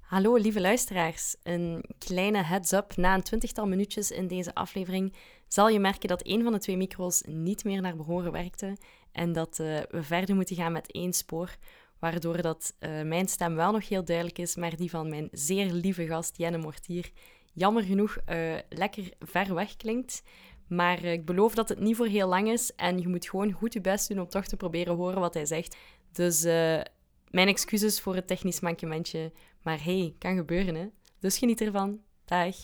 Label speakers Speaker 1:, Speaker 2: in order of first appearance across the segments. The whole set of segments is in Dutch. Speaker 1: Hallo lieve luisteraars. Een kleine heads-up. Na een twintigtal minuutjes in deze aflevering zal je merken dat een van de twee micro's niet meer naar behoren werkte en dat eh, we verder moeten gaan met één spoor, waardoor dat eh, mijn stem wel nog heel duidelijk is, maar die van mijn zeer lieve gast Jenne Mortier jammer genoeg eh, lekker ver weg klinkt. Maar eh, ik beloof dat het niet voor heel lang is en je moet gewoon goed je best doen om toch te proberen horen wat hij zegt. Dus eh, mijn excuses voor het technisch mankementje. Maar hey, kan gebeuren hè. Dus geniet ervan. Dag.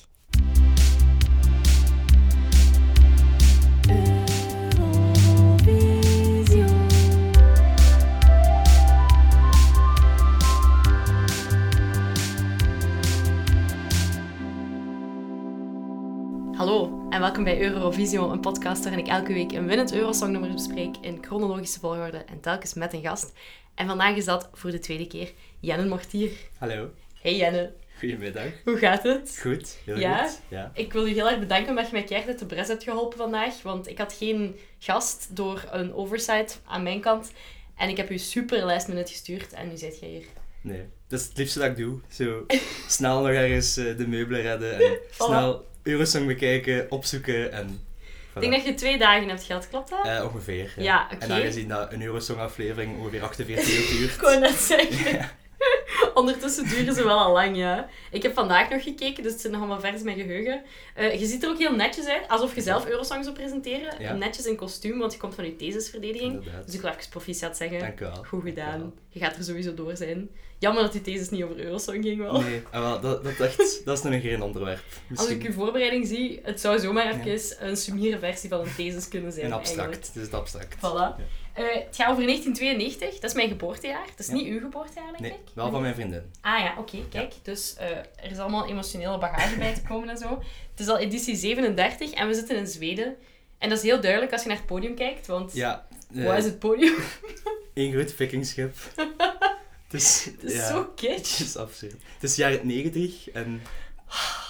Speaker 1: Hallo en welkom bij Eurovision, een podcast waarin ik elke week een winnend Eurosongnummer bespreek in chronologische volgorde en telkens met een gast. En vandaag is dat voor de tweede keer Jenne Mortier.
Speaker 2: Hallo,
Speaker 1: Hey Jenne,
Speaker 2: goedemiddag.
Speaker 1: hoe gaat het?
Speaker 2: Goed, heel
Speaker 1: Ja?
Speaker 2: goed. Ja.
Speaker 1: Ik wil u heel erg bedanken omdat je mij keihard uit de bres hebt geholpen vandaag. Want ik had geen gast door een oversight aan mijn kant. En ik heb u super last minute gestuurd en nu zit jij hier.
Speaker 2: Nee, dat is het liefste dat ik doe. Zo snel nog ergens eh, de meubelen redden en snel Eurosong bekijken, opzoeken en... voilà.
Speaker 1: Ik denk dat je twee dagen hebt gehad, klopt dat?
Speaker 2: Eh, ongeveer.
Speaker 1: Ja, oké.
Speaker 2: En aangezien dat een Eurosong-aflevering ongeveer 48 uur duurt...
Speaker 1: Ik wou net zeggen. Ondertussen duren ze wel al lang, ja. Ik heb vandaag nog gekeken, dus het zit nog allemaal vers in mijn geheugen. Eh, je ziet er ook heel netjes uit, alsof je zelf Eurosong zou presenteren.
Speaker 2: Ja.
Speaker 1: Netjes in kostuum, want je komt van je thesisverdediging. Dus
Speaker 2: Inderdaad.
Speaker 1: ik wil even proficiat zeggen.
Speaker 2: Dank u wel.
Speaker 1: Goed gedaan.
Speaker 2: Dank
Speaker 1: Je gaat er sowieso door zijn. Jammer dat die thesis niet over Eurosong ging
Speaker 2: u
Speaker 1: wel.
Speaker 2: wel. Nee, ah, wel, dat, dat, echt, dat is nog geen onderwerp.
Speaker 1: Als ik
Speaker 2: Misschien
Speaker 1: uw voorbereiding zie, het zou zomaar even een summiere versie van een thesis kunnen zijn.
Speaker 2: een
Speaker 1: eigenlijk.
Speaker 2: abstract. Het is het abstract.
Speaker 1: Voilà.
Speaker 2: Ja.
Speaker 1: Eh, het gaat over 1992, dat is mijn geboortejaar. Dat is
Speaker 2: Ja.
Speaker 1: niet uw geboortejaar, denk
Speaker 2: Nee,
Speaker 1: ik.
Speaker 2: wel van mijn vriendin.
Speaker 1: Ah ja, oké, kijk. Dus eh, er is allemaal emotionele bagage bij te komen en zo. Het is al editie 37 en we zitten in Zweden. En dat is heel duidelijk als je naar het podium kijkt, want
Speaker 2: Ja. eh,
Speaker 1: wat is het podium?
Speaker 2: Eén groot vikingschip. Het is...
Speaker 1: Het is
Speaker 2: ja.
Speaker 1: zo kitsch.
Speaker 2: Het is absurd. Het is jaren 90 en...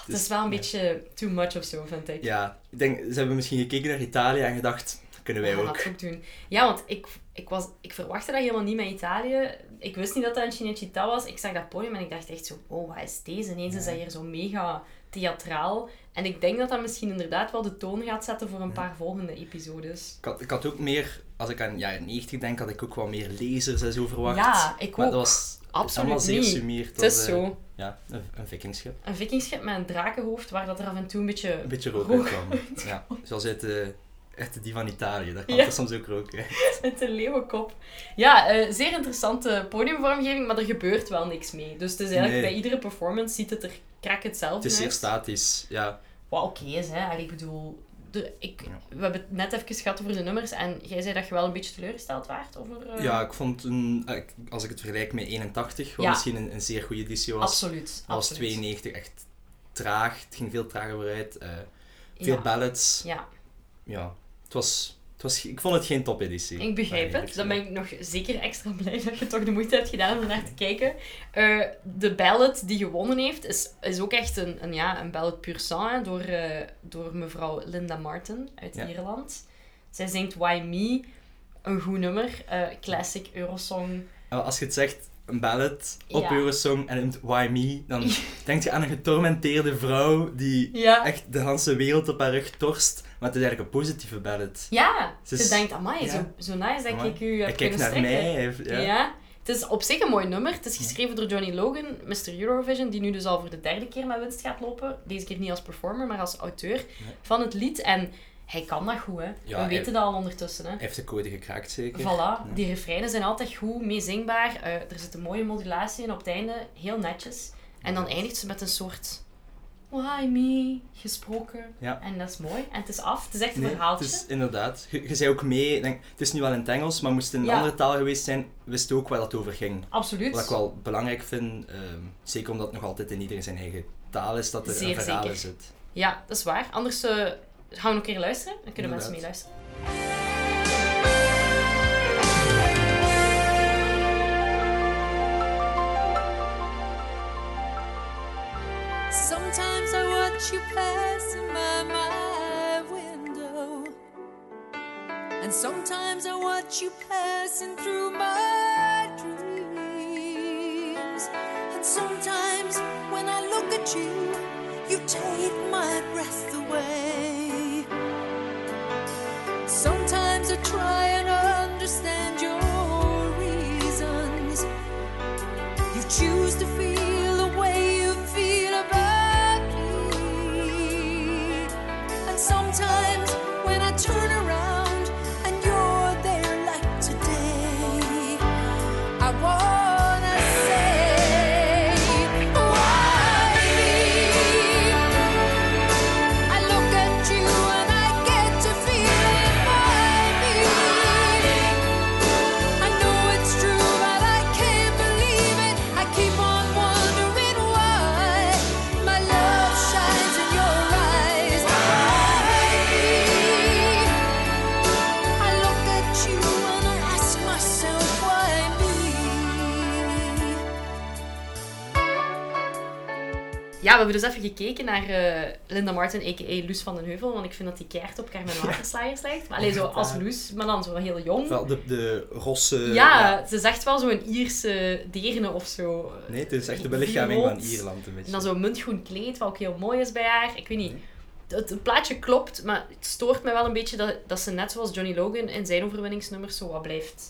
Speaker 1: Het is wel een beetje too much of zo, vind ik.
Speaker 2: Ja, ik denk, ze hebben misschien gekeken naar Italië en gedacht, dat kunnen wij
Speaker 1: We gaan
Speaker 2: ook.
Speaker 1: dat ook doen. Ja, want ik, ik, was, ik verwachtte dat helemaal niet met Italië. Ik wist niet dat dat een Cinecittà was. Ik zag dat podium en ik dacht echt zo, wow, wat is deze? Ineens is dat hier zo mega theatraal. En ik denk dat dat misschien inderdaad wel de toon gaat zetten voor een paar volgende episodes.
Speaker 2: Ik had, ik had ook meer, als ik aan jaren 90 denk, had ik ook wel meer lezers en zo verwacht.
Speaker 1: Ja, ik
Speaker 2: maar
Speaker 1: ook.
Speaker 2: dat was
Speaker 1: Absoluut
Speaker 2: allemaal zeer
Speaker 1: niet.
Speaker 2: sumier. eh,
Speaker 1: Het is zo.
Speaker 2: Ja, een, een vikingschip.
Speaker 1: Een vikingschip met een drakenhoofd waar dat er af en toe een beetje...
Speaker 2: Een beetje rook
Speaker 1: Rook
Speaker 2: uitkwam. Ja, zoals uit de, uit die van Italië. Daar kwam
Speaker 1: Ja.
Speaker 2: er soms ook rook uit.
Speaker 1: Met een leeuwenkop. Ja, eh, zeer interessante podiumvormgeving, maar er gebeurt wel niks mee. Dus het is eigenlijk
Speaker 2: Nee.
Speaker 1: bij iedere performance ziet het er krak hetzelfde
Speaker 2: Het is zeer
Speaker 1: uit.
Speaker 2: statisch. Ja,
Speaker 1: Wat oké is, hè. Allee, ik bedoel... de- ik,
Speaker 2: Ja.
Speaker 1: We hebben het net even gehad over de nummers en jij zei dat je wel een beetje teleurgesteld waart over... eh,
Speaker 2: ja ik vond, een, eh, ik- als ik het vergelijk met 81, wat
Speaker 1: Ja.
Speaker 2: misschien een, een zeer goede editie was,
Speaker 1: absoluut.
Speaker 2: was
Speaker 1: absoluut.
Speaker 2: 92 echt traag. Het ging veel trager vooruit. eh,
Speaker 1: Ja.
Speaker 2: veel ballads.
Speaker 1: Ja,
Speaker 2: ja, het was, het was, ik vond het geen topeditie.
Speaker 1: ik begrijp het. Dan ben ik nog zeker extra blij dat je toch de moeite hebt gedaan om naar te kijken. Eh, de ballad die gewonnen heeft, is, is ook echt een, een, ja, een ballad pur sang hè, door, eh, door mevrouw Linda Martin uit
Speaker 2: Ja.
Speaker 1: Ierland. Zij zingt Why Me, een goed nummer, eh, classic Eurosong.
Speaker 2: Eh, Als je het zegt, een ballad op
Speaker 1: Ja.
Speaker 2: Eurosong en het Why Me, dan denk je aan een getormenteerde vrouw die
Speaker 1: Ja.
Speaker 2: echt de hele wereld op haar rug torst. Maar het is eigenlijk een positieve ballad.
Speaker 1: Ja,
Speaker 2: Ze
Speaker 1: ze
Speaker 2: is-
Speaker 1: denkt, amai,
Speaker 2: ja.
Speaker 1: zo, zo nice dat
Speaker 2: Amai.
Speaker 1: ik u heb
Speaker 2: Hij kijkt
Speaker 1: kunnen
Speaker 2: naar
Speaker 1: strikken.
Speaker 2: mij. hij heeft-
Speaker 1: Ja.
Speaker 2: ja.
Speaker 1: het is op zich een mooi nummer. Het is geschreven door Johnny Logan, Mr. Eurovision, die nu dus al voor de derde keer met winst gaat lopen. Deze keer niet als performer, maar als auteur van het lied. En hij kan dat goed, hè.
Speaker 2: Ja,
Speaker 1: We
Speaker 2: hij-
Speaker 1: weten dat al ondertussen, hè.
Speaker 2: Hij heeft de code gekraakt, zeker.
Speaker 1: Voilà, die refreinen zijn altijd goed, meezingbaar. Eh, er zit een mooie modulatie in op het einde, heel netjes. En dan eindigt ze met een soort... Why me? Gesproken.
Speaker 2: Ja.
Speaker 1: En dat is mooi. En het is af. Het is echt een
Speaker 2: Nee, het
Speaker 1: verhaaltje.
Speaker 2: is inderdaad. Je, je zei ook mee, ik denk, het is nu wel in het Engels, maar moest het in een
Speaker 1: Ja.
Speaker 2: andere taal geweest zijn, wist je ook waar dat over ging.
Speaker 1: Absoluut.
Speaker 2: Wat ik wel belangrijk vind, ehm, zeker omdat het nog altijd in iedereen zijn eigen taal is, dat er
Speaker 1: Zeer
Speaker 2: een verhaal
Speaker 1: zeker.
Speaker 2: in zit.
Speaker 1: Ja, dat is waar. Anders eh, gaan we nog een keer luisteren. Dan kunnen mensen
Speaker 2: Inderdaad.
Speaker 1: meeluisteren.
Speaker 3: Sometimes I watch you passing by my window. And sometimes I watch you passing through my dreams. And sometimes touch you, you take my breath away. Sometimes I try and understand your reasons. You choose to feel the way you feel about me. And sometimes when I turn around and you're there like today, I wanna say, why me? I look at you and I get to feel it by me. I know it's true, but I can't believe it. I keep on wondering why my love shines in your eyes. I look at you and I ask myself why me.
Speaker 1: Ja, we hebben dus even gekeken naar eh, Linda Martin, a.k.a. Loes van den Heuvel. Want ik vind dat die keihard op Carmen Waterslaaiers lijkt. Maar alleen zo als Loes, maar dan zo heel jong.
Speaker 2: Wel, eh, de, de rosse...
Speaker 1: ja, ze zegt wel zo'n Ierse derne of zo.
Speaker 2: Nee, het is echt de belichaming van
Speaker 1: Vierhond.
Speaker 2: Ierland een
Speaker 1: En
Speaker 2: beetje.
Speaker 1: dan zo'n muntgroen kleed, wat ook heel mooi is bij haar. Ik weet niet. Het, het plaatje klopt, maar het stoort me wel een beetje dat, dat ze net zoals Johnny Logan in zijn overwinningsnummers zo wat blijft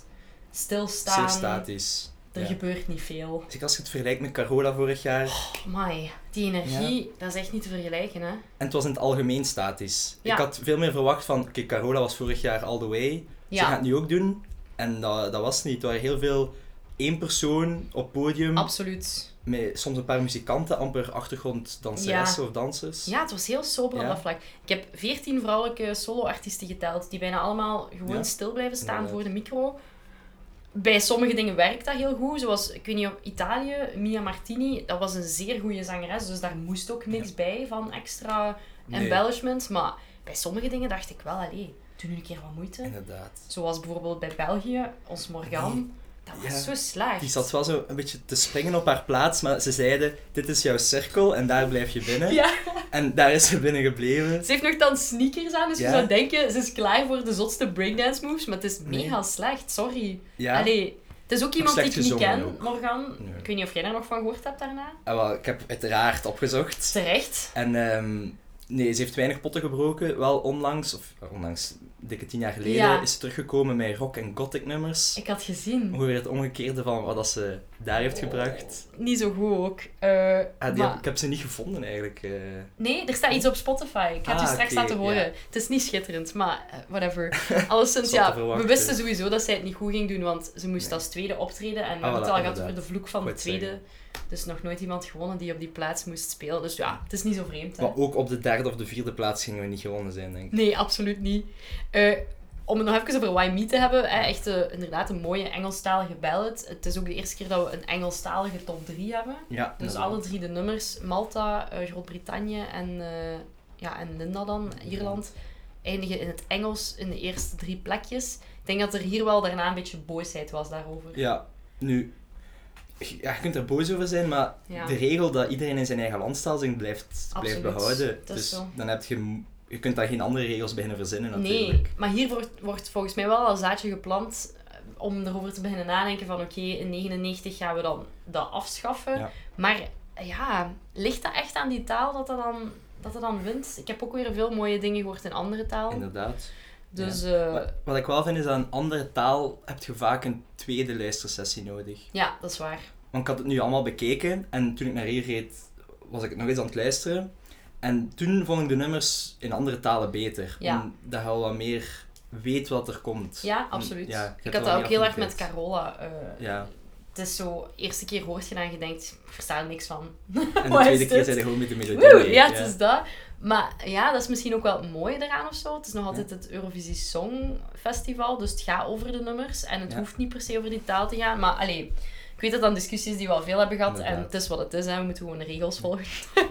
Speaker 1: stilstaan.
Speaker 2: Zeer statisch.
Speaker 1: Er
Speaker 2: Ja.
Speaker 1: gebeurt niet veel.
Speaker 2: Zeker als je het vergelijkt met Carola vorig
Speaker 1: Oh.
Speaker 2: jaar.
Speaker 1: Amai, die energie, dat is echt niet te vergelijken, hè.
Speaker 2: En het was in het algemeen statisch.
Speaker 1: Ja.
Speaker 2: Ik had veel meer verwacht van, oké, Carola was vorig jaar all the way. Ze
Speaker 1: Ja.
Speaker 2: gaat het nu ook doen. En dat, dat was het niet. Het waren heel veel één persoon op podium.
Speaker 1: Absoluut.
Speaker 2: met soms een paar muzikanten, amper achtergronddanseressen of dansers.
Speaker 1: Ja, het was heel sober op
Speaker 2: Ja.
Speaker 1: dat vlak. Ik heb veertien vrouwelijke solo-artiesten geteld, die bijna allemaal gewoon
Speaker 2: Ja.
Speaker 1: stil blijven staan
Speaker 2: Inderdaad.
Speaker 1: voor de micro. Bij sommige dingen werkt dat heel goed, zoals, ik weet niet, op Italië, Mia Martini, dat was een zeer goede zangeres, dus daar moest ook niks bij van extra
Speaker 2: Nee.
Speaker 1: embellishments. Maar bij sommige dingen dacht ik wel, allee, doe nu een keer wat moeite.
Speaker 2: Inderdaad.
Speaker 1: Zoals bijvoorbeeld bij België, ons Morgan, dat was
Speaker 2: Ja.
Speaker 1: zo slecht.
Speaker 2: Die zat wel zo een beetje te springen op haar plaats, maar ze zeiden, dit is jouw cirkel en daar blijf je binnen.
Speaker 1: Ja.
Speaker 2: En daar is ze binnen gebleven.
Speaker 1: Ze heeft nog dan sneakers aan, dus je
Speaker 2: Ja.
Speaker 1: zou denken, ze is klaar voor de zotste breakdance moves, maar het is mega slecht, sorry.
Speaker 2: Ja.
Speaker 1: Allee, het is ook iemand die
Speaker 2: slecht
Speaker 1: ik niet
Speaker 2: gezongen
Speaker 1: ken,
Speaker 2: ook.
Speaker 1: Morgan.
Speaker 2: Nee.
Speaker 1: Ik weet niet of jij daar nog van gehoord hebt daarna.
Speaker 2: Ah, wel, ik heb uiteraard opgezocht.
Speaker 1: Terecht.
Speaker 2: En ehm, nee, ze heeft weinig potten gebroken. Wel onlangs, of onlangs, dikke tien jaar geleden,
Speaker 1: Ja.
Speaker 2: is ze teruggekomen met rock- en gothic nummers.
Speaker 1: Ik had gezien.
Speaker 2: Ongeveer het omgekeerde van wat dat ze daar heeft gebracht.
Speaker 1: Niet zo goed ook. Eh,
Speaker 2: Ah, die
Speaker 1: maar-
Speaker 2: heb- ik heb ze niet gevonden eigenlijk. eh.
Speaker 1: Nee, er staat iets op Spotify. Ik ga het je
Speaker 2: Ah,
Speaker 1: straks
Speaker 2: oké,
Speaker 1: laten horen.
Speaker 2: ja.
Speaker 1: Het is niet schitterend, maar eh, whatever. Alleszins,
Speaker 2: Zat te
Speaker 1: ja, we
Speaker 2: verwachten.
Speaker 1: wisten sowieso dat zij het niet goed ging doen, want ze moest
Speaker 2: Nee.
Speaker 1: als tweede optreden. En we
Speaker 2: Ah,
Speaker 1: hebben het
Speaker 2: voilà,
Speaker 1: al gehad over
Speaker 2: inderdaad.
Speaker 1: de vloek van de
Speaker 2: Goed
Speaker 1: tweede.
Speaker 2: zeggen.
Speaker 1: Dus nog nooit iemand gewonnen die op die plaats moest spelen. Dus ja, het is niet zo vreemd. Hè?
Speaker 2: Maar ook op de derde of de vierde plaats gingen we niet gewonnen zijn, denk ik.
Speaker 1: Nee, absoluut niet. Eh, om het nog even over Why Me te hebben. hè, echt eh, inderdaad een mooie Engelstalige ballad. Het is ook de eerste keer dat we een Engelstalige top 3 hebben.
Speaker 2: Ja,
Speaker 1: Dus
Speaker 2: inderdaad.
Speaker 1: alle drie de nummers, Malta, eh, Groot-Brittannië en, eh, ja, en Linda dan, Ierland, eindigen in het Engels in de eerste drie plekjes. Ik denk dat er hier wel daarna een beetje boosheid was daarover.
Speaker 2: Ja, nu... Ja, je kunt er boos over zijn, maar
Speaker 1: Ja.
Speaker 2: de regel dat iedereen in zijn eigen landstaal zingt, blijft, blijft
Speaker 1: Absoluut.
Speaker 2: behouden.
Speaker 1: Dat is
Speaker 2: dus
Speaker 1: zo.
Speaker 2: dan heb je... m- Je kunt daar geen andere regels beginnen verzinnen, natuurlijk.
Speaker 1: Nee, maar hier wordt, wordt volgens mij wel al een zaadje geplant eh, om erover te beginnen nadenken van oké, in 99 gaan we dan dat afschaffen.
Speaker 2: Ja.
Speaker 1: Maar eh, ja, ligt dat echt aan die taal dat dat dan, dat dat dan wint? Ik heb ook weer veel mooie dingen gehoord in andere talen.
Speaker 2: Inderdaad.
Speaker 1: Dus ja.
Speaker 2: Wat, wat ik wel vind, is dat een andere taal heb je vaak een tweede luistersessie nodig.
Speaker 1: ja, dat is waar.
Speaker 2: Want ik had het nu allemaal bekeken, en toen ik naar hier reed, was ik het nog eens aan het luisteren. En toen vond ik de nummers in andere talen beter.
Speaker 1: Ja.
Speaker 2: Omdat je al wat meer weet wat er komt.
Speaker 1: Ja,
Speaker 2: En-
Speaker 1: absoluut.
Speaker 2: Hm, ja, je hebt
Speaker 1: ik
Speaker 2: wel
Speaker 1: had dat
Speaker 2: meer
Speaker 1: ook heel erg met
Speaker 2: affiniteit.
Speaker 1: Carola. eh,
Speaker 2: Ja.
Speaker 1: Het is zo, eerste keer hoort je dat en je denkt, ik versta er niks van.
Speaker 2: En
Speaker 1: Wat
Speaker 2: de
Speaker 1: is
Speaker 2: tweede keer
Speaker 1: dit?
Speaker 2: zijn er gewoon met de melodie.
Speaker 1: Woe,
Speaker 2: mee.
Speaker 1: ja, het is dat. Maar ja, dat is misschien ook wel mooi eraan of zo. Het is nog altijd het Eurovisie Songfestival, dus het gaat over de nummers. En het
Speaker 2: Ja.
Speaker 1: hoeft niet per se over die taal te gaan. Maar allee, ik weet dat dan discussies die we al veel hebben gehad. En
Speaker 2: Inderdaad.
Speaker 1: het is wat het is, hè. we moeten gewoon de regels volgen.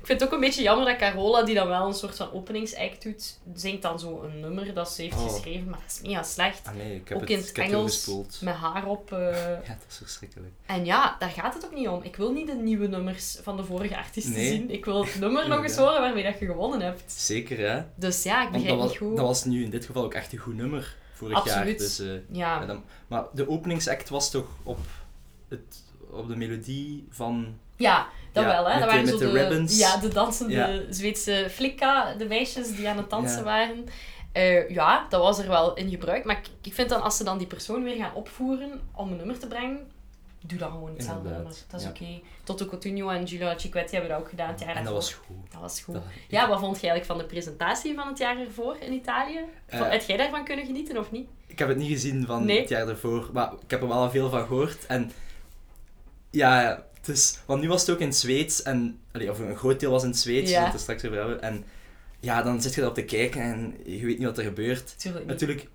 Speaker 1: ik vind het ook een beetje jammer dat Carola, die dan wel een soort van openingsact doet, zingt dan zo een nummer dat ze heeft
Speaker 2: Oh.
Speaker 1: geschreven. Maar dat is mega slecht.
Speaker 2: Ah nee, ik heb
Speaker 1: ook
Speaker 2: het,
Speaker 1: in het
Speaker 2: ik heb
Speaker 1: Engels
Speaker 2: doorgespoeld.
Speaker 1: met haar op. eh,
Speaker 2: Ja, dat is verschrikkelijk.
Speaker 1: en ja, daar gaat het ook niet om. Ik wil niet de nieuwe nummers van de vorige artiesten
Speaker 2: Nee.
Speaker 1: zien. Ik wil het nummer nog eens
Speaker 2: Ja.
Speaker 1: horen waarmee dat je gewonnen hebt.
Speaker 2: Zeker, hè?
Speaker 1: Dus ja, ik
Speaker 2: Want
Speaker 1: begrijp
Speaker 2: dat was,
Speaker 1: niet goed.
Speaker 2: dat was nu in dit geval ook echt een goed nummer vorig jaar.
Speaker 1: Absoluut.
Speaker 2: Dus, eh,
Speaker 1: Ja.
Speaker 2: ja, dan- maar de openingsact was toch op het op de melodie van...
Speaker 1: Ja, dat
Speaker 2: Ja,
Speaker 1: wel, hè.
Speaker 2: met
Speaker 1: Dat
Speaker 2: de-
Speaker 1: waren
Speaker 2: met
Speaker 1: zo
Speaker 2: de ribbons.
Speaker 1: Ja, de dansende
Speaker 2: Ja.
Speaker 1: Zweedse flikka, de meisjes die aan het dansen
Speaker 2: Ja.
Speaker 1: waren. Eh, ja, dat was er wel in gebruik. Maar ik, ik vind dan, als ze dan die persoon weer gaan opvoeren om een nummer te brengen, doe dan gewoon hetzelfde
Speaker 2: Inderdaad,
Speaker 1: nummer. Dat is
Speaker 2: ja.
Speaker 1: oké. Toto Coutinho en Giulia Chiquetti hebben dat ook gedaan het jaar
Speaker 2: en dat
Speaker 1: ervoor.
Speaker 2: was goed.
Speaker 1: Dat was goed.
Speaker 2: Dat-
Speaker 1: Ja, wat vond jij eigenlijk van de presentatie van het jaar ervoor in Italië? Vond-
Speaker 2: Eh.
Speaker 1: Heb jij daarvan kunnen genieten of niet?
Speaker 2: Ik heb het niet gezien van
Speaker 1: Nee.
Speaker 2: het jaar ervoor, maar ik heb er wel al veel van gehoord. En ja, ja, het is, want nu was het ook in het Zweeds, en, allee, of een groot deel was in het Zweeds,
Speaker 1: Ja.
Speaker 2: we gaan het er straks over hebben. En ja, dan zit je erop te kijken en je weet niet wat er gebeurt.
Speaker 1: Tuurlijk niet.
Speaker 2: Natuurlijk,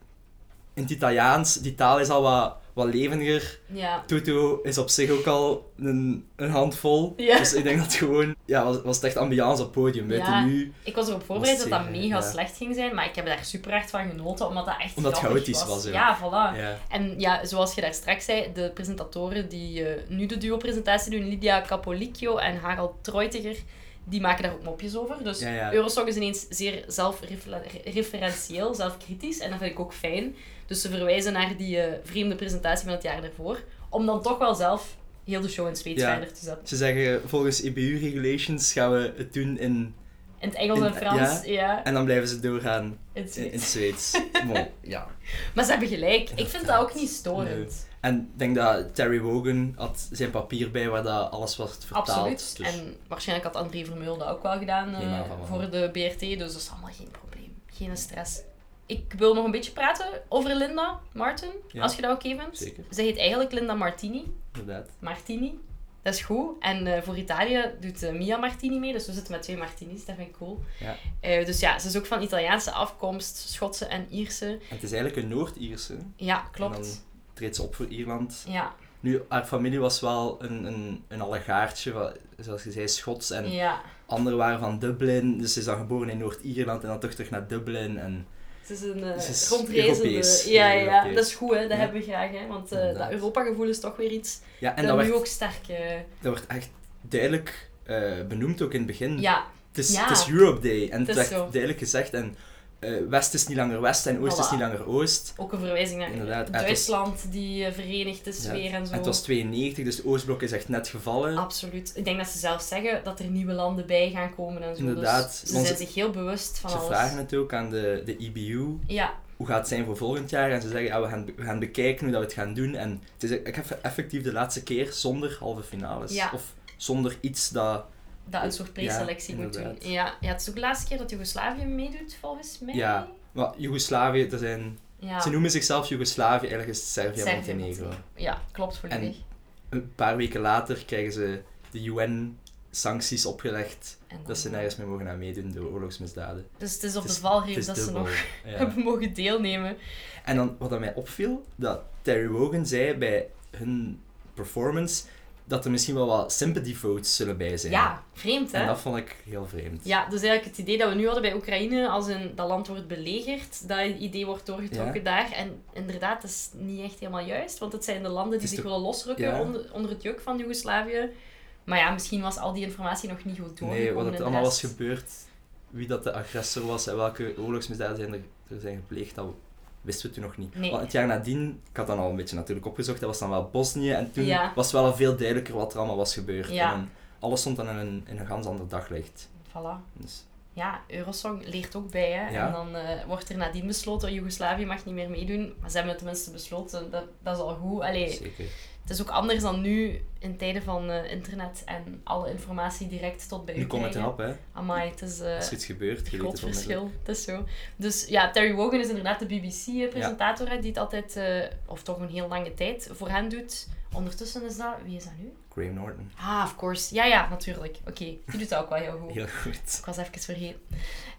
Speaker 2: in het Italiaans, die taal is al wat, wat levendiger.
Speaker 1: Ja.
Speaker 2: Toto is op zich ook al een, een handvol.
Speaker 1: Ja.
Speaker 2: Dus ik denk dat het gewoon, ja, was, was het echt ambiance op het podium. Buiten
Speaker 1: Ja.
Speaker 2: nu,
Speaker 1: Ik was erop voorbereid dat dat
Speaker 2: zeer,
Speaker 1: mega
Speaker 2: ja.
Speaker 1: slecht ging zijn, maar ik heb daar super hard van genoten, omdat dat echt
Speaker 2: Omdat het
Speaker 1: grappig
Speaker 2: chaotisch was, ja.
Speaker 1: ja, voilà.
Speaker 2: ja.
Speaker 1: En ja, zoals je daar straks zei, de presentatoren die eh, nu de duo-presentatie doen, Lydia Capolicchio en Harald Treutiger, die maken daar ook mopjes over. Dus
Speaker 2: Ja, ja.
Speaker 1: Eurosong is ineens zeer zelfreferentieel, zelfkritisch. En dat vind ik ook fijn. Dus ze verwijzen naar die eh, vreemde presentatie van het jaar daarvoor. Om dan toch wel zelf heel de show in het Zweeds
Speaker 2: Ja.
Speaker 1: verder te zetten.
Speaker 2: Ze zeggen, volgens E EBU-regulations gaan we het doen in
Speaker 1: In het Engels
Speaker 2: In-
Speaker 1: en Frans, ja.
Speaker 2: En dan blijven ze doorgaan
Speaker 1: in het
Speaker 2: in, in
Speaker 1: Zweeds.
Speaker 2: het Zweeds. Mooi, ja.
Speaker 1: Maar ze hebben gelijk. Ik vind dat ook niet storend.
Speaker 2: En ik denk dat Terry Wogan had zijn papier bij waar dat alles was vertaald.
Speaker 1: Absoluut.
Speaker 2: Dus
Speaker 1: En waarschijnlijk had André Vermeulen dat ook wel gedaan eh,
Speaker 2: Nee, maar van wel.
Speaker 1: voor de BRT. Dus dat is allemaal geen probleem. Geen stress. Ik wil nog een beetje praten over Linda Martin,
Speaker 2: Ja.
Speaker 1: als je dat oké vindt.
Speaker 2: Zeker.
Speaker 1: Ze heet eigenlijk Linda Martini.
Speaker 2: inderdaad.
Speaker 1: Martini. Dat is goed. En eh, voor Italië doet eh, Mia Martini mee. Dus we zitten met twee Martinis. Dat vind ik cool.
Speaker 2: Ja.
Speaker 1: Eh, dus ja, ze is ook van Italiaanse afkomst. Schotse en Ierse.
Speaker 2: En het is eigenlijk een Noord-Ierse.
Speaker 1: Ja,
Speaker 2: En
Speaker 1: klopt.
Speaker 2: dan treedt ze op voor Ierland.
Speaker 1: Ja.
Speaker 2: Nu, haar familie was wel een, een, een allegaartje, wa- zoals je zei, Schots. En
Speaker 1: ja.
Speaker 2: anderen waren van Dublin. Dus ze is dan geboren in Noord-Ierland en dan toch terug naar Dublin. En
Speaker 1: Het is een eh,
Speaker 2: Het is Europees.
Speaker 1: rondreizende... Ja, ja, ja,
Speaker 2: Europees.
Speaker 1: dat is goed, hè. dat
Speaker 2: Ja.
Speaker 1: hebben we graag. Hè? Want eh, dat
Speaker 2: Inderdaad.
Speaker 1: Europa-gevoel is toch weer iets
Speaker 2: ja, en
Speaker 1: dat
Speaker 2: dat
Speaker 1: nu
Speaker 2: werd,
Speaker 1: ook sterk... eh,
Speaker 2: dat werd echt duidelijk eh, benoemd ook in het begin.
Speaker 1: ja,
Speaker 2: Het is,
Speaker 1: Ja.
Speaker 2: het is Europe Day en
Speaker 1: Het
Speaker 2: het
Speaker 1: is
Speaker 2: werd
Speaker 1: zo.
Speaker 2: duidelijk gezegd. En eh, West is niet langer West en Oost
Speaker 1: Voilà.
Speaker 2: is niet langer Oost.
Speaker 1: ook een verwijzing naar
Speaker 2: Inderdaad, het was-
Speaker 1: Duitsland, die eh, verenigd is
Speaker 2: Ja.
Speaker 1: weer en zo. Ah,
Speaker 2: En het was 92, dus het Oostblok is echt net gevallen.
Speaker 1: Absoluut. Ik denk dat ze zelf zeggen dat er nieuwe landen bij gaan komen en zo.
Speaker 2: Inderdaad,
Speaker 1: Dus ze
Speaker 2: want
Speaker 1: zijn
Speaker 2: ze-
Speaker 1: zich heel bewust van
Speaker 2: Ze
Speaker 1: alles.
Speaker 2: vragen het ook aan de, de EBU,
Speaker 1: Ja,
Speaker 2: hoe gaat het zijn voor volgend jaar? En ze zeggen, ja, we, gaan, we gaan bekijken hoe dat we het gaan doen. En het is e- eff- effectief de laatste keer zonder halve finales.
Speaker 1: Ja.
Speaker 2: Of zonder iets dat...
Speaker 1: dat een soort preselectie
Speaker 2: Ja,
Speaker 1: moet doen.
Speaker 2: inderdaad.
Speaker 1: Ja. ja, het is ook de laatste keer dat Joegoslavië meedoet, volgens mij.
Speaker 2: Ja, maar Joegoslavië, er zijn...
Speaker 1: ja.
Speaker 2: Ze noemen zichzelf Joegoslavië, eigenlijk is het Servië en
Speaker 1: Servië,
Speaker 2: Montenegro.
Speaker 1: Montenegro. Ja, klopt volledig.
Speaker 2: Een paar weken later krijgen ze de UN-sancties opgelegd
Speaker 1: En dan-
Speaker 2: dat ze nergens meer mogen aan meedoen door oorlogsmisdaden.
Speaker 1: Dus het is op
Speaker 2: Het is-
Speaker 1: de valreep
Speaker 2: het
Speaker 1: dat
Speaker 2: is
Speaker 1: ze
Speaker 2: dubbel.
Speaker 1: nog
Speaker 2: Ja.
Speaker 1: hebben mogen deelnemen.
Speaker 2: En dan, wat aan mij opviel, dat Terry Wogan zei bij hun performance dat er misschien wel wat sympathy votes zullen bij zijn.
Speaker 1: Ja, vreemd hè?
Speaker 2: En dat vond ik heel vreemd.
Speaker 1: Ja, dus eigenlijk het idee dat we nu hadden bij Oekraïne, als in dat land wordt belegerd, dat idee wordt doorgetrokken
Speaker 2: Ja.
Speaker 1: daar. En inderdaad, dat is niet echt helemaal juist, want het zijn de landen die
Speaker 2: Het is
Speaker 1: zich
Speaker 2: toch-
Speaker 1: willen losrukken
Speaker 2: Ja.
Speaker 1: onder, onder het juk van Joegoslavië. Maar ja, misschien was al die informatie nog niet goed doorgekomen.
Speaker 2: nee, wat
Speaker 1: in
Speaker 2: het
Speaker 1: de
Speaker 2: allemaal was
Speaker 1: rest.
Speaker 2: gebeurd, wie dat de agressor was en welke oorlogsmisdaden zijn er, er zijn gepleegd, dat wisten we toen nog niet.
Speaker 1: Nee.
Speaker 2: Want het jaar nadien, ik had dan al een beetje natuurlijk opgezocht, dat was dan wel Bosnië. En toen
Speaker 1: Ja.
Speaker 2: was wel al veel duidelijker wat er allemaal was gebeurd.
Speaker 1: Ja.
Speaker 2: En alles stond dan in een, in een gans ander daglicht.
Speaker 1: Voilà.
Speaker 2: Dus,
Speaker 1: Ja, Eurosong leert ook bij, hè.
Speaker 2: Ja.
Speaker 1: En dan eh, wordt er nadien besloten, Joegoslavië mag niet meer meedoen. Maar ze hebben het tenminste besloten, dat, dat is al goed. Allee,
Speaker 2: zeker.
Speaker 1: Het is ook anders dan nu in tijden van eh, internet en alle informatie direct tot bij u
Speaker 2: Nu komt het
Speaker 1: krijgen.
Speaker 2: erop, hè.
Speaker 1: Amai, het is eh,
Speaker 2: Als er iets gebeurt, je
Speaker 1: een
Speaker 2: weet
Speaker 1: groot
Speaker 2: het onmiddellijk.
Speaker 1: verschil. Het is zo. Dus ja, Terry Wogan is inderdaad de BBC-presentator die het altijd, eh, of toch een heel lange tijd, voor hen doet. Ondertussen is dat... Wie is dat nu?
Speaker 2: Graham Norton.
Speaker 1: Ah, of course. Ja, ja, natuurlijk. Oké, die doet dat ook wel heel goed.
Speaker 2: Heel goed.
Speaker 1: Ik was even vergeten.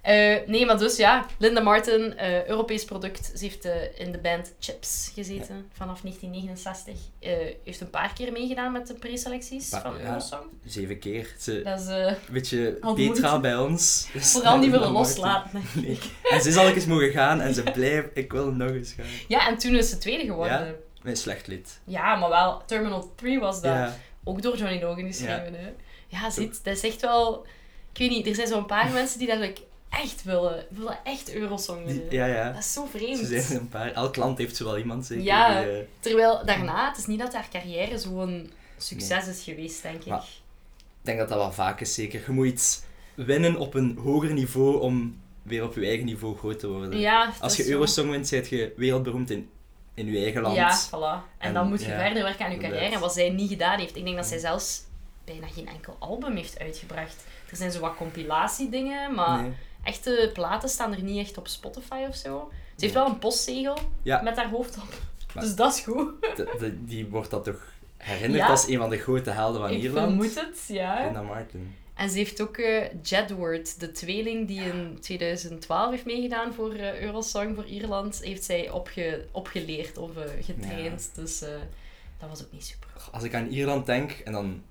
Speaker 1: Eh, nee, maar dus ja, Linda Martin, eh, Europees product. Ze heeft eh, in de band Chips gezeten vanaf 1969. Eh, heeft een paar keer meegedaan met de preselecties
Speaker 2: Paar-
Speaker 1: van
Speaker 2: ja.
Speaker 1: Eurosong.
Speaker 2: Zeven keer. Ze,
Speaker 1: Dat is eh,
Speaker 2: een beetje
Speaker 1: Had
Speaker 2: Petra
Speaker 1: moeite.
Speaker 2: bij ons. Dus
Speaker 1: vooral niet
Speaker 2: dan
Speaker 1: willen
Speaker 2: mag het
Speaker 1: loslaten.
Speaker 2: niet. Nee. En ze is al eens mogen gaan en ze blijft, ik wil nog eens gaan.
Speaker 1: Ja, en toen is ze tweede geworden. Ja?
Speaker 2: Ja? Een slecht lied.
Speaker 1: maar wel, Terminal 3 was dat.
Speaker 2: Ja,
Speaker 1: Ook door Johnny Logan geschreven. hè. Ja, ziet, dat is echt wel... Ik weet niet, er zijn zo'n paar mensen die dat like, echt willen. Willen echt Eurosong
Speaker 2: die,
Speaker 1: willen.
Speaker 2: ja.
Speaker 1: Dat
Speaker 2: ja.
Speaker 1: is zo
Speaker 2: Ze
Speaker 1: vreemd.
Speaker 2: zijn er een paar. Elk land heeft zo wel iemand, zeker.
Speaker 1: Ja.
Speaker 2: die, eh,
Speaker 1: Terwijl daarna, het is niet dat haar carrière zo'n succes is geweest, denk ik.
Speaker 2: Maar- Ik denk dat dat wel vaak is, zeker. Je moet iets winnen op een hoger niveau om weer op je eigen niveau groot te worden.
Speaker 1: ja, dat
Speaker 2: eh, Als
Speaker 1: is
Speaker 2: je
Speaker 1: zo.
Speaker 2: Eurosong wint, ben je wereldberoemd in, in je eigen land.
Speaker 1: Ja, voilà. En,
Speaker 2: En,
Speaker 1: dan moet je
Speaker 2: ja,
Speaker 1: verder werken aan je
Speaker 2: inderdaad.
Speaker 1: carrière. En wat zij niet gedaan heeft. Ik denk dat zij zelfs bijna geen enkel album heeft uitgebracht. Er zijn zo wat compilatiedingen, maar
Speaker 2: Nee.
Speaker 1: echte platen staan er niet echt op Spotify of zo. Ze heeft
Speaker 2: Nee.
Speaker 1: wel een postzegel
Speaker 2: Ja.
Speaker 1: met haar hoofd op.
Speaker 2: Maar-
Speaker 1: Dus dat is goed.
Speaker 2: De- de- die wordt dat toch herinnerd
Speaker 1: Ja.
Speaker 2: als een van de grote helden van
Speaker 1: Ik
Speaker 2: Ierland?
Speaker 1: vermoed het, ja.
Speaker 2: Linda Martin.
Speaker 1: En ze heeft ook eh Jedward, de tweeling die in 2012 heeft meegedaan voor eh, Eurosong voor Ierland, heeft zij opge opgeleerd of eh, getraind. Dus eh, dat was ook niet super.
Speaker 2: Als ik aan Ierland denk, en dan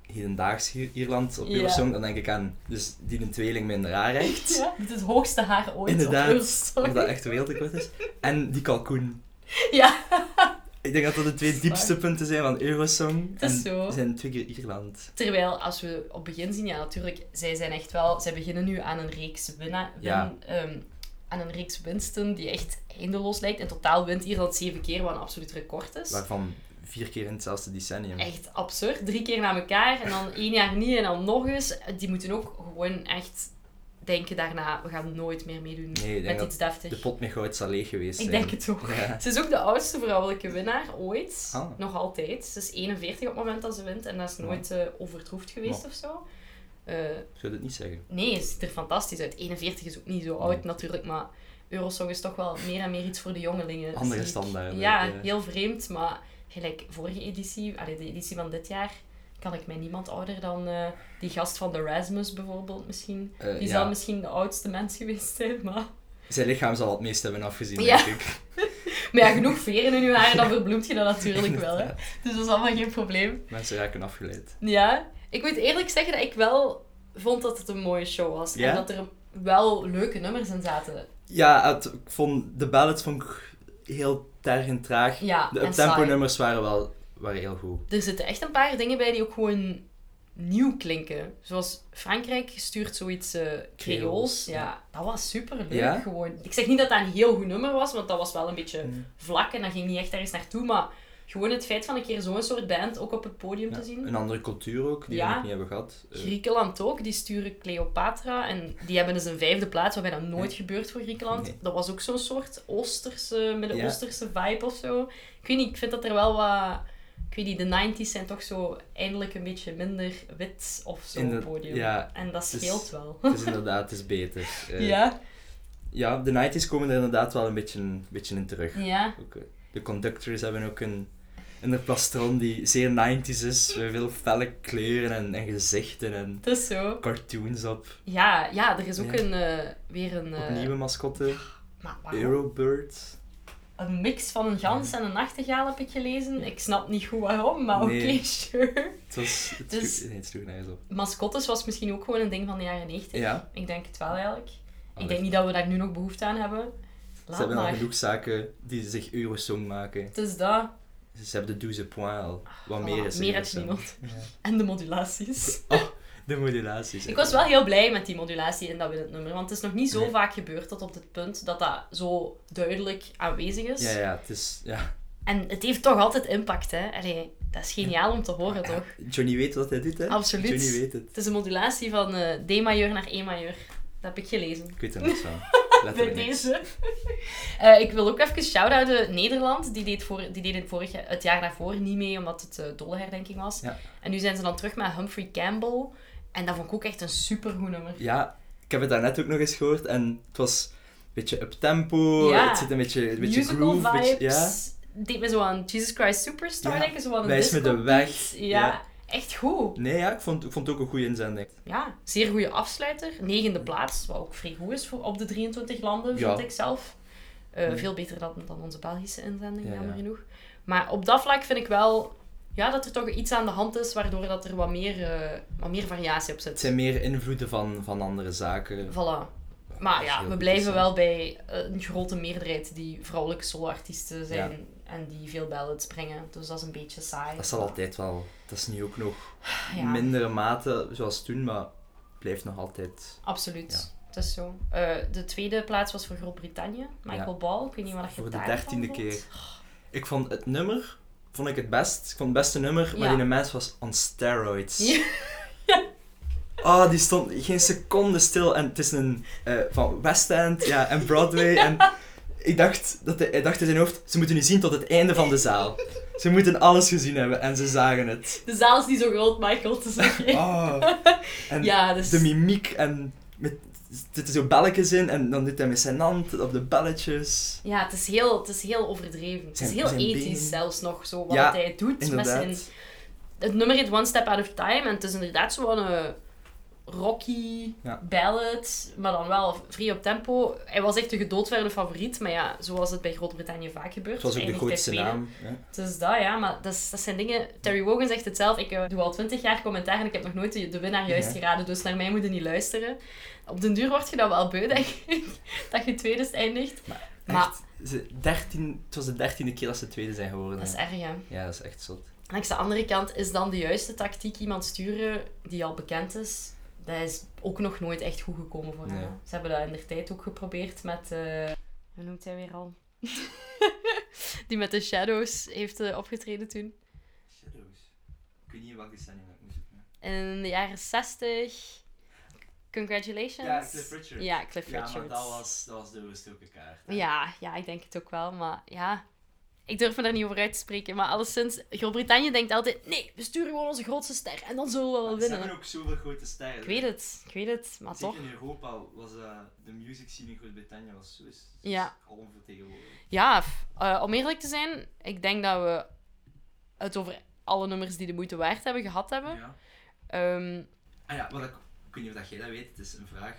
Speaker 2: hedendaags Ier- Ierland op
Speaker 1: Ja.
Speaker 2: Eurosong, dan denk ik aan dus die een tweeling minder aanrecht.
Speaker 1: Ja, het is het hoogste haar ooit
Speaker 2: Inderdaad,
Speaker 1: op Eurosong.
Speaker 2: omdat dat echt wereldrecord is. En die kalkoen.
Speaker 1: Ja,
Speaker 2: Ik denk dat dat de twee
Speaker 1: waar.
Speaker 2: diepste punten zijn van Eurosong.
Speaker 1: Het is
Speaker 2: en
Speaker 1: zo.
Speaker 2: we zijn twee keer Ierland.
Speaker 1: terwijl als we op begin zien, ja natuurlijk, zij zijn echt wel... Zij beginnen nu aan een reeks winna, win,
Speaker 2: Ja.
Speaker 1: ehm, aan een reeks winsten die echt eindeloos lijkt. In totaal wint Ierland zeven keer, wat een absoluut record is.
Speaker 2: Waarvan vier keer in hetzelfde decennium.
Speaker 1: Echt absurd. Drie keer na elkaar en dan één jaar niet en dan nog eens. Die moeten ook gewoon echt denken daarna, we gaan nooit meer meedoen
Speaker 2: Nee, ik denk
Speaker 1: met
Speaker 2: dat
Speaker 1: iets deftig.
Speaker 2: De pot met goud zal leeg geweest
Speaker 1: Ik
Speaker 2: zijn.
Speaker 1: denk het ook.
Speaker 2: Ja.
Speaker 1: Ze is ook de oudste vrouwelijke winnaar ooit.
Speaker 2: Ah.
Speaker 1: Nog altijd. Ze is 41 op het moment dat ze wint. En dat is nooit eh, overtroefd geweest of zo. Eh,
Speaker 2: Ik zou het niet zeggen.
Speaker 1: nee, ze ziet er fantastisch uit. 41 is ook niet zo oud natuurlijk. Maar Eurosong is toch wel meer en meer iets voor de jongelingen.
Speaker 2: Andere
Speaker 1: zie ik.
Speaker 2: standaarden, eh.
Speaker 1: Ja,
Speaker 2: ja.
Speaker 1: heel vreemd. Maar gelijk vorige editie, allee, de editie van dit jaar... Kan ik mij niemand ouder dan eh, die gast van de Rasmus bijvoorbeeld misschien?
Speaker 2: Eh,
Speaker 1: Die
Speaker 2: ja.
Speaker 1: zal misschien de oudste mens geweest zijn, maar...
Speaker 2: Zijn lichaam zal het meest hebben afgezien,
Speaker 1: Ja.
Speaker 2: denk ik.
Speaker 1: Maar ja, genoeg veren in je haar, dan verbloemt je dat natuurlijk wel. Hè? Dus dat is allemaal geen probleem.
Speaker 2: Mensen raken afgeleid.
Speaker 1: Ja, ik moet eerlijk zeggen dat ik wel vond dat het een mooie show was.
Speaker 2: Ja?
Speaker 1: En dat er wel leuke nummers in zaten.
Speaker 2: Ja, het, ik vond, de ballads vond ik heel terg en traag.
Speaker 1: Ja,
Speaker 2: de
Speaker 1: en
Speaker 2: tempo
Speaker 1: saai.
Speaker 2: nummers waren wel waren heel goed.
Speaker 1: Er zitten echt een paar dingen bij die ook gewoon nieuw klinken. Zoals Frankrijk stuurt zoiets eh Creools.
Speaker 2: Creools,
Speaker 1: Ja, dat was super leuk
Speaker 2: Ja?
Speaker 1: gewoon. Ik zeg niet dat dat een heel goed nummer was, want dat was wel een beetje
Speaker 2: Mm.
Speaker 1: vlak en dat ging niet echt ergens naartoe. Maar gewoon het feit van een keer zo'n soort band ook op het podium
Speaker 2: Ja,
Speaker 1: te zien.
Speaker 2: Een andere cultuur ook, die
Speaker 1: Ja.
Speaker 2: we nog niet hebben gehad. Eh,
Speaker 1: Griekenland ook, die sturen Cleopatra en die hebben dus een vijfde plaats, waarbij dat nooit gebeurt voor Griekenland.
Speaker 2: Nee.
Speaker 1: Dat was ook zo'n soort Oosterse, Midden-Oosterse vibe of zo. Ik weet niet, ik vind dat er wel wat... Ik weet niet, de 90s zijn toch zo eindelijk een beetje minder wit of zo
Speaker 2: In
Speaker 1: op
Speaker 2: de-
Speaker 1: het podium.
Speaker 2: ja,
Speaker 1: en dat
Speaker 2: het is-
Speaker 1: scheelt wel.
Speaker 2: het is inderdaad, het is beter. Eh,
Speaker 1: ja,
Speaker 2: ja, de 90s komen er inderdaad wel een beetje, een beetje in terug.
Speaker 1: ja.
Speaker 2: Ook, eh, de conductors hebben ook een, een plastron die zeer 90s is, met veel felle kleuren en, en gezichten en
Speaker 1: Het is zo.
Speaker 2: cartoons op.
Speaker 1: Ja, ja er is ook
Speaker 2: Ja.
Speaker 1: een, eh, weer een... eh,
Speaker 2: Nieuwe mascotte,
Speaker 1: maar waarom?
Speaker 2: Eurobird.
Speaker 1: Een mix van een gans en een nachtegaal heb ik gelezen. Ik snap niet goed waarom, maar
Speaker 2: Nee.
Speaker 1: oké, sure.
Speaker 2: Het was... Het
Speaker 1: Dus-
Speaker 2: sloeg- nee, het sloeg nergens op.
Speaker 1: mascottes was misschien ook gewoon een ding van de jaren 90.
Speaker 2: Ja,
Speaker 1: Ik denk het wel eigenlijk. Ik denk
Speaker 2: Allee.
Speaker 1: niet dat we daar nu nog behoefte aan hebben.
Speaker 2: ze
Speaker 1: Laat
Speaker 2: hebben al
Speaker 1: maar.
Speaker 2: genoeg zaken die zich Eurosong maken.
Speaker 1: Het is dat.
Speaker 2: Ze hebben de 12 point al. Wat
Speaker 1: Ah, Voilà,
Speaker 2: meer is
Speaker 1: meer heb je
Speaker 2: Eurosong.
Speaker 1: niet nodig. En de modulaties.
Speaker 2: Oh, de modulaties.
Speaker 1: Ik was wel heel blij met die modulatie in dat winnend nummer. Want het is nog niet zo
Speaker 2: Nee.
Speaker 1: vaak gebeurd tot op dit punt dat dat zo duidelijk aanwezig is.
Speaker 2: Ja, ja, het is... Ja.
Speaker 1: En het heeft toch altijd impact, hè. Allee, dat is geniaal om te horen, toch?
Speaker 2: Johnny weet wat hij doet, hè?
Speaker 1: Absoluut.
Speaker 2: Johnny weet het.
Speaker 1: Het is een modulatie van eh D-majeur naar E-majeur. Dat heb ik gelezen.
Speaker 2: Ik weet er niks van.
Speaker 1: bij
Speaker 2: Letterlijk niks.
Speaker 1: deze. Eh, ik wil ook even shout-outen Nederland. Die deed, voor, die deed het, vorig, jaar- het jaar daarvoor niet mee, omdat het eh dolle herdenking was.
Speaker 2: Ja.
Speaker 1: En nu zijn ze dan terug met Humphrey Campbell. En dat vond ik ook echt een supergoed nummer.
Speaker 2: Ja, ik heb het daarnet ook nog eens gehoord en het was een beetje up-tempo,
Speaker 1: Ja.
Speaker 2: het zit een beetje, een beetje
Speaker 1: Musical
Speaker 2: groove. een
Speaker 1: vibes.
Speaker 2: beetje- ja.
Speaker 1: Deed me zo aan Jesus Christ Superstar
Speaker 2: Ja,
Speaker 1: denken. Zo aan een
Speaker 2: Wijs me
Speaker 1: disco
Speaker 2: de weg.
Speaker 1: beat. Ja,
Speaker 2: Ja.
Speaker 1: echt goed.
Speaker 2: Nee, ja, ik vond, ik vond het ook een goede inzending.
Speaker 1: Ja, zeer goede afsluiter. Negende plaats, wat ook vrij goed is voor, op de 23 landen,
Speaker 2: Ja.
Speaker 1: vind ik zelf. Eh,
Speaker 2: Mm.
Speaker 1: Veel beter dan, dan onze Belgische inzending,
Speaker 2: Ja,
Speaker 1: jammer
Speaker 2: ja.
Speaker 1: genoeg. Maar op dat vlak vind ik wel ja, dat er toch iets aan de hand is, waardoor dat er wat meer, eh, wat meer variatie op
Speaker 2: Het
Speaker 1: zit.
Speaker 2: zijn meer invloeden van, van andere zaken.
Speaker 1: Voilà. Maar
Speaker 2: Dat is heel
Speaker 1: ja, we
Speaker 2: goed
Speaker 1: blijven
Speaker 2: gezien.
Speaker 1: wel bij een grote meerderheid die vrouwelijke soloartiesten zijn en die veel ballads brengen. Dus dat is een beetje saai.
Speaker 2: Dat zal altijd wel. Dat is nu ook nog
Speaker 1: Ah Ja.
Speaker 2: mindere mate zoals toen, maar het blijft nog altijd.
Speaker 1: Absoluut. Dat is zo. Eh, de tweede plaats was voor Groot-Brittannië. Michael
Speaker 2: Ja.
Speaker 1: Ball. Ik weet niet wat je
Speaker 2: Voor de
Speaker 1: daarvan
Speaker 2: dertiende
Speaker 1: vond.
Speaker 2: keer. Ik vond het nummer vond ik het best. Ik vond het beste nummer, maar
Speaker 1: Ja.
Speaker 2: die mens was on steroids.
Speaker 1: Ja.
Speaker 2: Ah, die stond geen seconde stil. En het is een eh, van West End ja, en Broadway. En ik dacht, dat hij, hij dacht in zijn hoofd, ze moeten nu zien tot het einde van de zaal. Ze moeten alles gezien hebben en ze zagen het.
Speaker 1: De zaal is niet zo groot, Michael, te zeggen.
Speaker 2: Oh. En
Speaker 1: Ja, dus-
Speaker 2: de mimiek en met, er zitten zo belletjes in en dan doet hij met zijn hand op de belletjes.
Speaker 1: Ja, het is heel, het is heel overdreven. Het is
Speaker 2: Zijn-
Speaker 1: heel
Speaker 2: zijn benen.
Speaker 1: ethisch zelfs nog, zo, wat
Speaker 2: Ja,
Speaker 1: hij doet. Met zijn,
Speaker 2: Inderdaad.
Speaker 1: het nummer heet One Step Out of Time en het is inderdaad zo'n eh, rocky
Speaker 2: Ja.
Speaker 1: ballad, maar dan wel vrij op tempo. Hij was echt de gedoodverde favoriet, maar ja, zoals het bij Groot-Brittannië vaak gebeurt.
Speaker 2: Het was ook de
Speaker 1: eindigt
Speaker 2: grootste
Speaker 1: hij tweede.
Speaker 2: naam. Ja.
Speaker 1: Dus dat, ja, maar dat, is- dat zijn dingen... Terry Wogan zegt het zelf, ik eh, doe al twintig jaar commentaar en ik heb nog nooit de, de winnaar juist
Speaker 2: Ja.
Speaker 1: geraden, dus naar mij moet je niet luisteren. Op den duur word je dat wel beu, denk ik, dat je tweede eindigt. Maar-
Speaker 2: Echt, ze, 13, het was de dertiende keer dat ze tweede zijn geworden.
Speaker 1: Dat is
Speaker 2: hè.
Speaker 1: erg, hè.
Speaker 2: Ja, dat is echt zot.
Speaker 1: Langs de andere kant is dan de juiste tactiek iemand sturen die al bekend is. Dat is ook nog nooit echt goed gekomen voor hen.
Speaker 2: Nee.
Speaker 1: hè. Ze hebben dat in der tijd ook geprobeerd met... eh Hoe noemt hij weer al? die met de Shadows heeft eh, opgetreden toen.
Speaker 2: Shadows. Ik weet niet welke stelling ik moet zoeken.
Speaker 1: In de jaren 60. Congratulations.
Speaker 2: Ja, Cliff Richard.
Speaker 1: Ja, Cliff Richards.
Speaker 2: dat was de rustelijke kaart.
Speaker 1: Ja, ja, ik denk het ook wel, maar ja. Ik durf me daar niet over uit te spreken, maar alleszins, Groot-Brittannië denkt altijd: nee, we sturen gewoon onze grootste ster en dan zullen we wel winnen.
Speaker 2: ook zoveel grote sterren.
Speaker 1: Ik weet het, ik weet het, maar toch.
Speaker 2: in Europa was eh, de music scene in Groot-Brittannië was zo is,
Speaker 1: Ja.
Speaker 2: onvertegenwoordigd.
Speaker 1: Ja, f- eh, om eerlijk te zijn, ik denk dat we het over alle nummers die de moeite waard hebben gehad hebben.
Speaker 2: Ja.
Speaker 1: Ehm,
Speaker 2: Ah ja, wat ik, ik weet niet of dat jij dat weet, het is een vraag.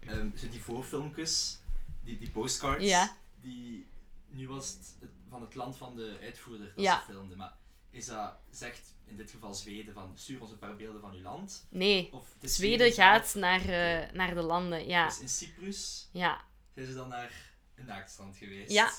Speaker 2: Ehm, zo die voorfilmpjes, die, die postcards,
Speaker 1: Ja.
Speaker 2: die, nu was het, het van het land van de uitvoerder dat
Speaker 1: Ja.
Speaker 2: ze filmden, maar is dat, zegt in dit geval Zweden, van stuur ons een paar beelden van uw land?
Speaker 1: nee,
Speaker 2: Of het is
Speaker 1: Zweden gaat naar, eh,
Speaker 2: Oké.
Speaker 1: naar de landen, ja.
Speaker 2: Dus in Cyprus
Speaker 1: ja.
Speaker 2: zijn ze dan naar een naaktstrand geweest.
Speaker 1: Ja.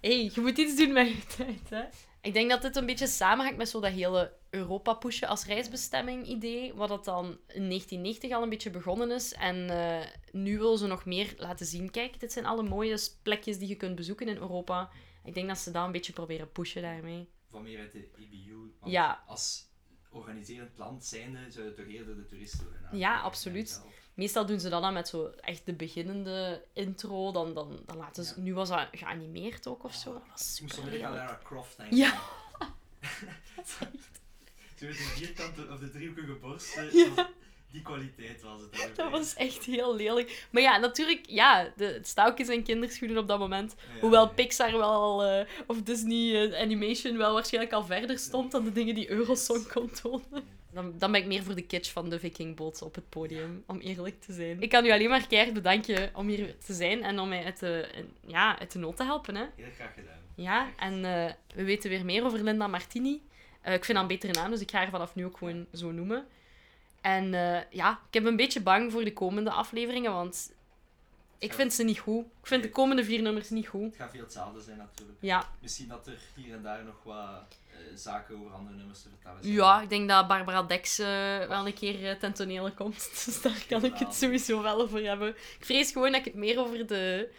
Speaker 1: Hé, hey, je moet iets doen met je tijd, hè. Ik denk dat dit een beetje samenhangt met zo dat hele Europa-pushen als reisbestemming-idee, wat dat dan in 1990 al een beetje begonnen is. En eh, nu wil ze nog meer laten zien, kijk, dit zijn alle mooie plekjes die je kunt bezoeken in Europa. Ik denk dat ze dat een beetje proberen pushen daarmee.
Speaker 2: Van meer uit de EBU. want
Speaker 1: Ja.
Speaker 2: Als organiserend land zijnde zou je toch eerder de toeristen willen
Speaker 1: Ja,
Speaker 2: aantrekken,
Speaker 1: absoluut.
Speaker 2: denk ik wel.
Speaker 1: Meestal doen ze dat dan met zo echt de beginnende intro. Dan, dan, dan laten ze...
Speaker 2: Ja.
Speaker 1: Nu was dat geanimeerd ook of zo. Dat was
Speaker 2: Ik moest
Speaker 1: super
Speaker 2: onmiddellijk aan Lara Croft denken.
Speaker 1: Ja.
Speaker 2: Zo met de vierkante of de driehoekige borst. eh, Die kwaliteit was het. daarbij.
Speaker 1: Dat was echt heel lelijk. Maar ja, natuurlijk, ja, de, het staat ook in zijn kinderschoenen op dat moment.
Speaker 2: Ja, ja,
Speaker 1: Hoewel
Speaker 2: ja.
Speaker 1: Pixar wel al, eh, of Disney eh, Animation wel waarschijnlijk al verder stond dan de dingen die Eurosong kon tonen. Dan, dan ben ik meer voor de kitsch van de vikingboot op het podium, om eerlijk te zijn. Ik kan u alleen maar keihard bedanken om hier te zijn en om mij uit de, ja, uit de nood te helpen. Hè.
Speaker 2: Heel graag gedaan.
Speaker 1: Ja, en eh, we weten weer meer over Linda Martini. Eh, ik vind haar een betere naam, dus ik ga haar vanaf nu ook gewoon zo noemen. En eh, ja, ik heb een beetje bang voor de komende afleveringen, want ik vind ze niet goed. Ik vind de komende vier nummers niet goed.
Speaker 2: Het gaat veel hetzelfde zijn natuurlijk.
Speaker 1: Ja,
Speaker 2: Misschien dat er hier en daar nog wat eh, zaken over andere nummers te vertellen zijn.
Speaker 1: ja ik denk dat Barbara Dex eh, wel een keer eh, ten tonele komt. Dus daar kan ik het sowieso wel over hebben. Ik vrees gewoon dat ik het meer over de,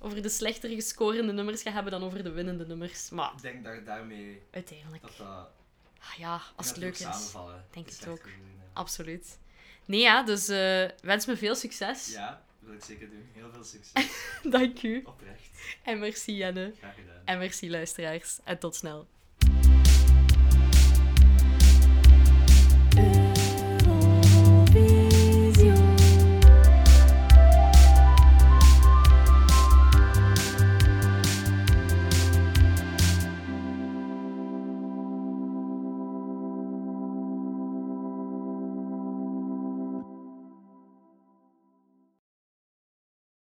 Speaker 1: over de slechter gescorende nummers ga hebben dan over de winnende nummers. Maar
Speaker 2: Ik denk dat daarmee
Speaker 1: uiteindelijk,
Speaker 2: dat dat
Speaker 1: ah ja, als het
Speaker 2: dat
Speaker 1: leuk
Speaker 2: ook
Speaker 1: is.
Speaker 2: samenvallen.
Speaker 1: Denk
Speaker 2: is
Speaker 1: het
Speaker 2: echt
Speaker 1: ook.
Speaker 2: goed gezien, hè.
Speaker 1: Absoluut. Nee, ja, dus eh, wens me veel succes.
Speaker 2: Ja, wil ik zeker doen. Heel veel succes.
Speaker 1: Dank u.
Speaker 2: Oprecht.
Speaker 1: En merci Jenne.
Speaker 2: Graag gedaan.
Speaker 1: En merci luisteraars. En tot snel.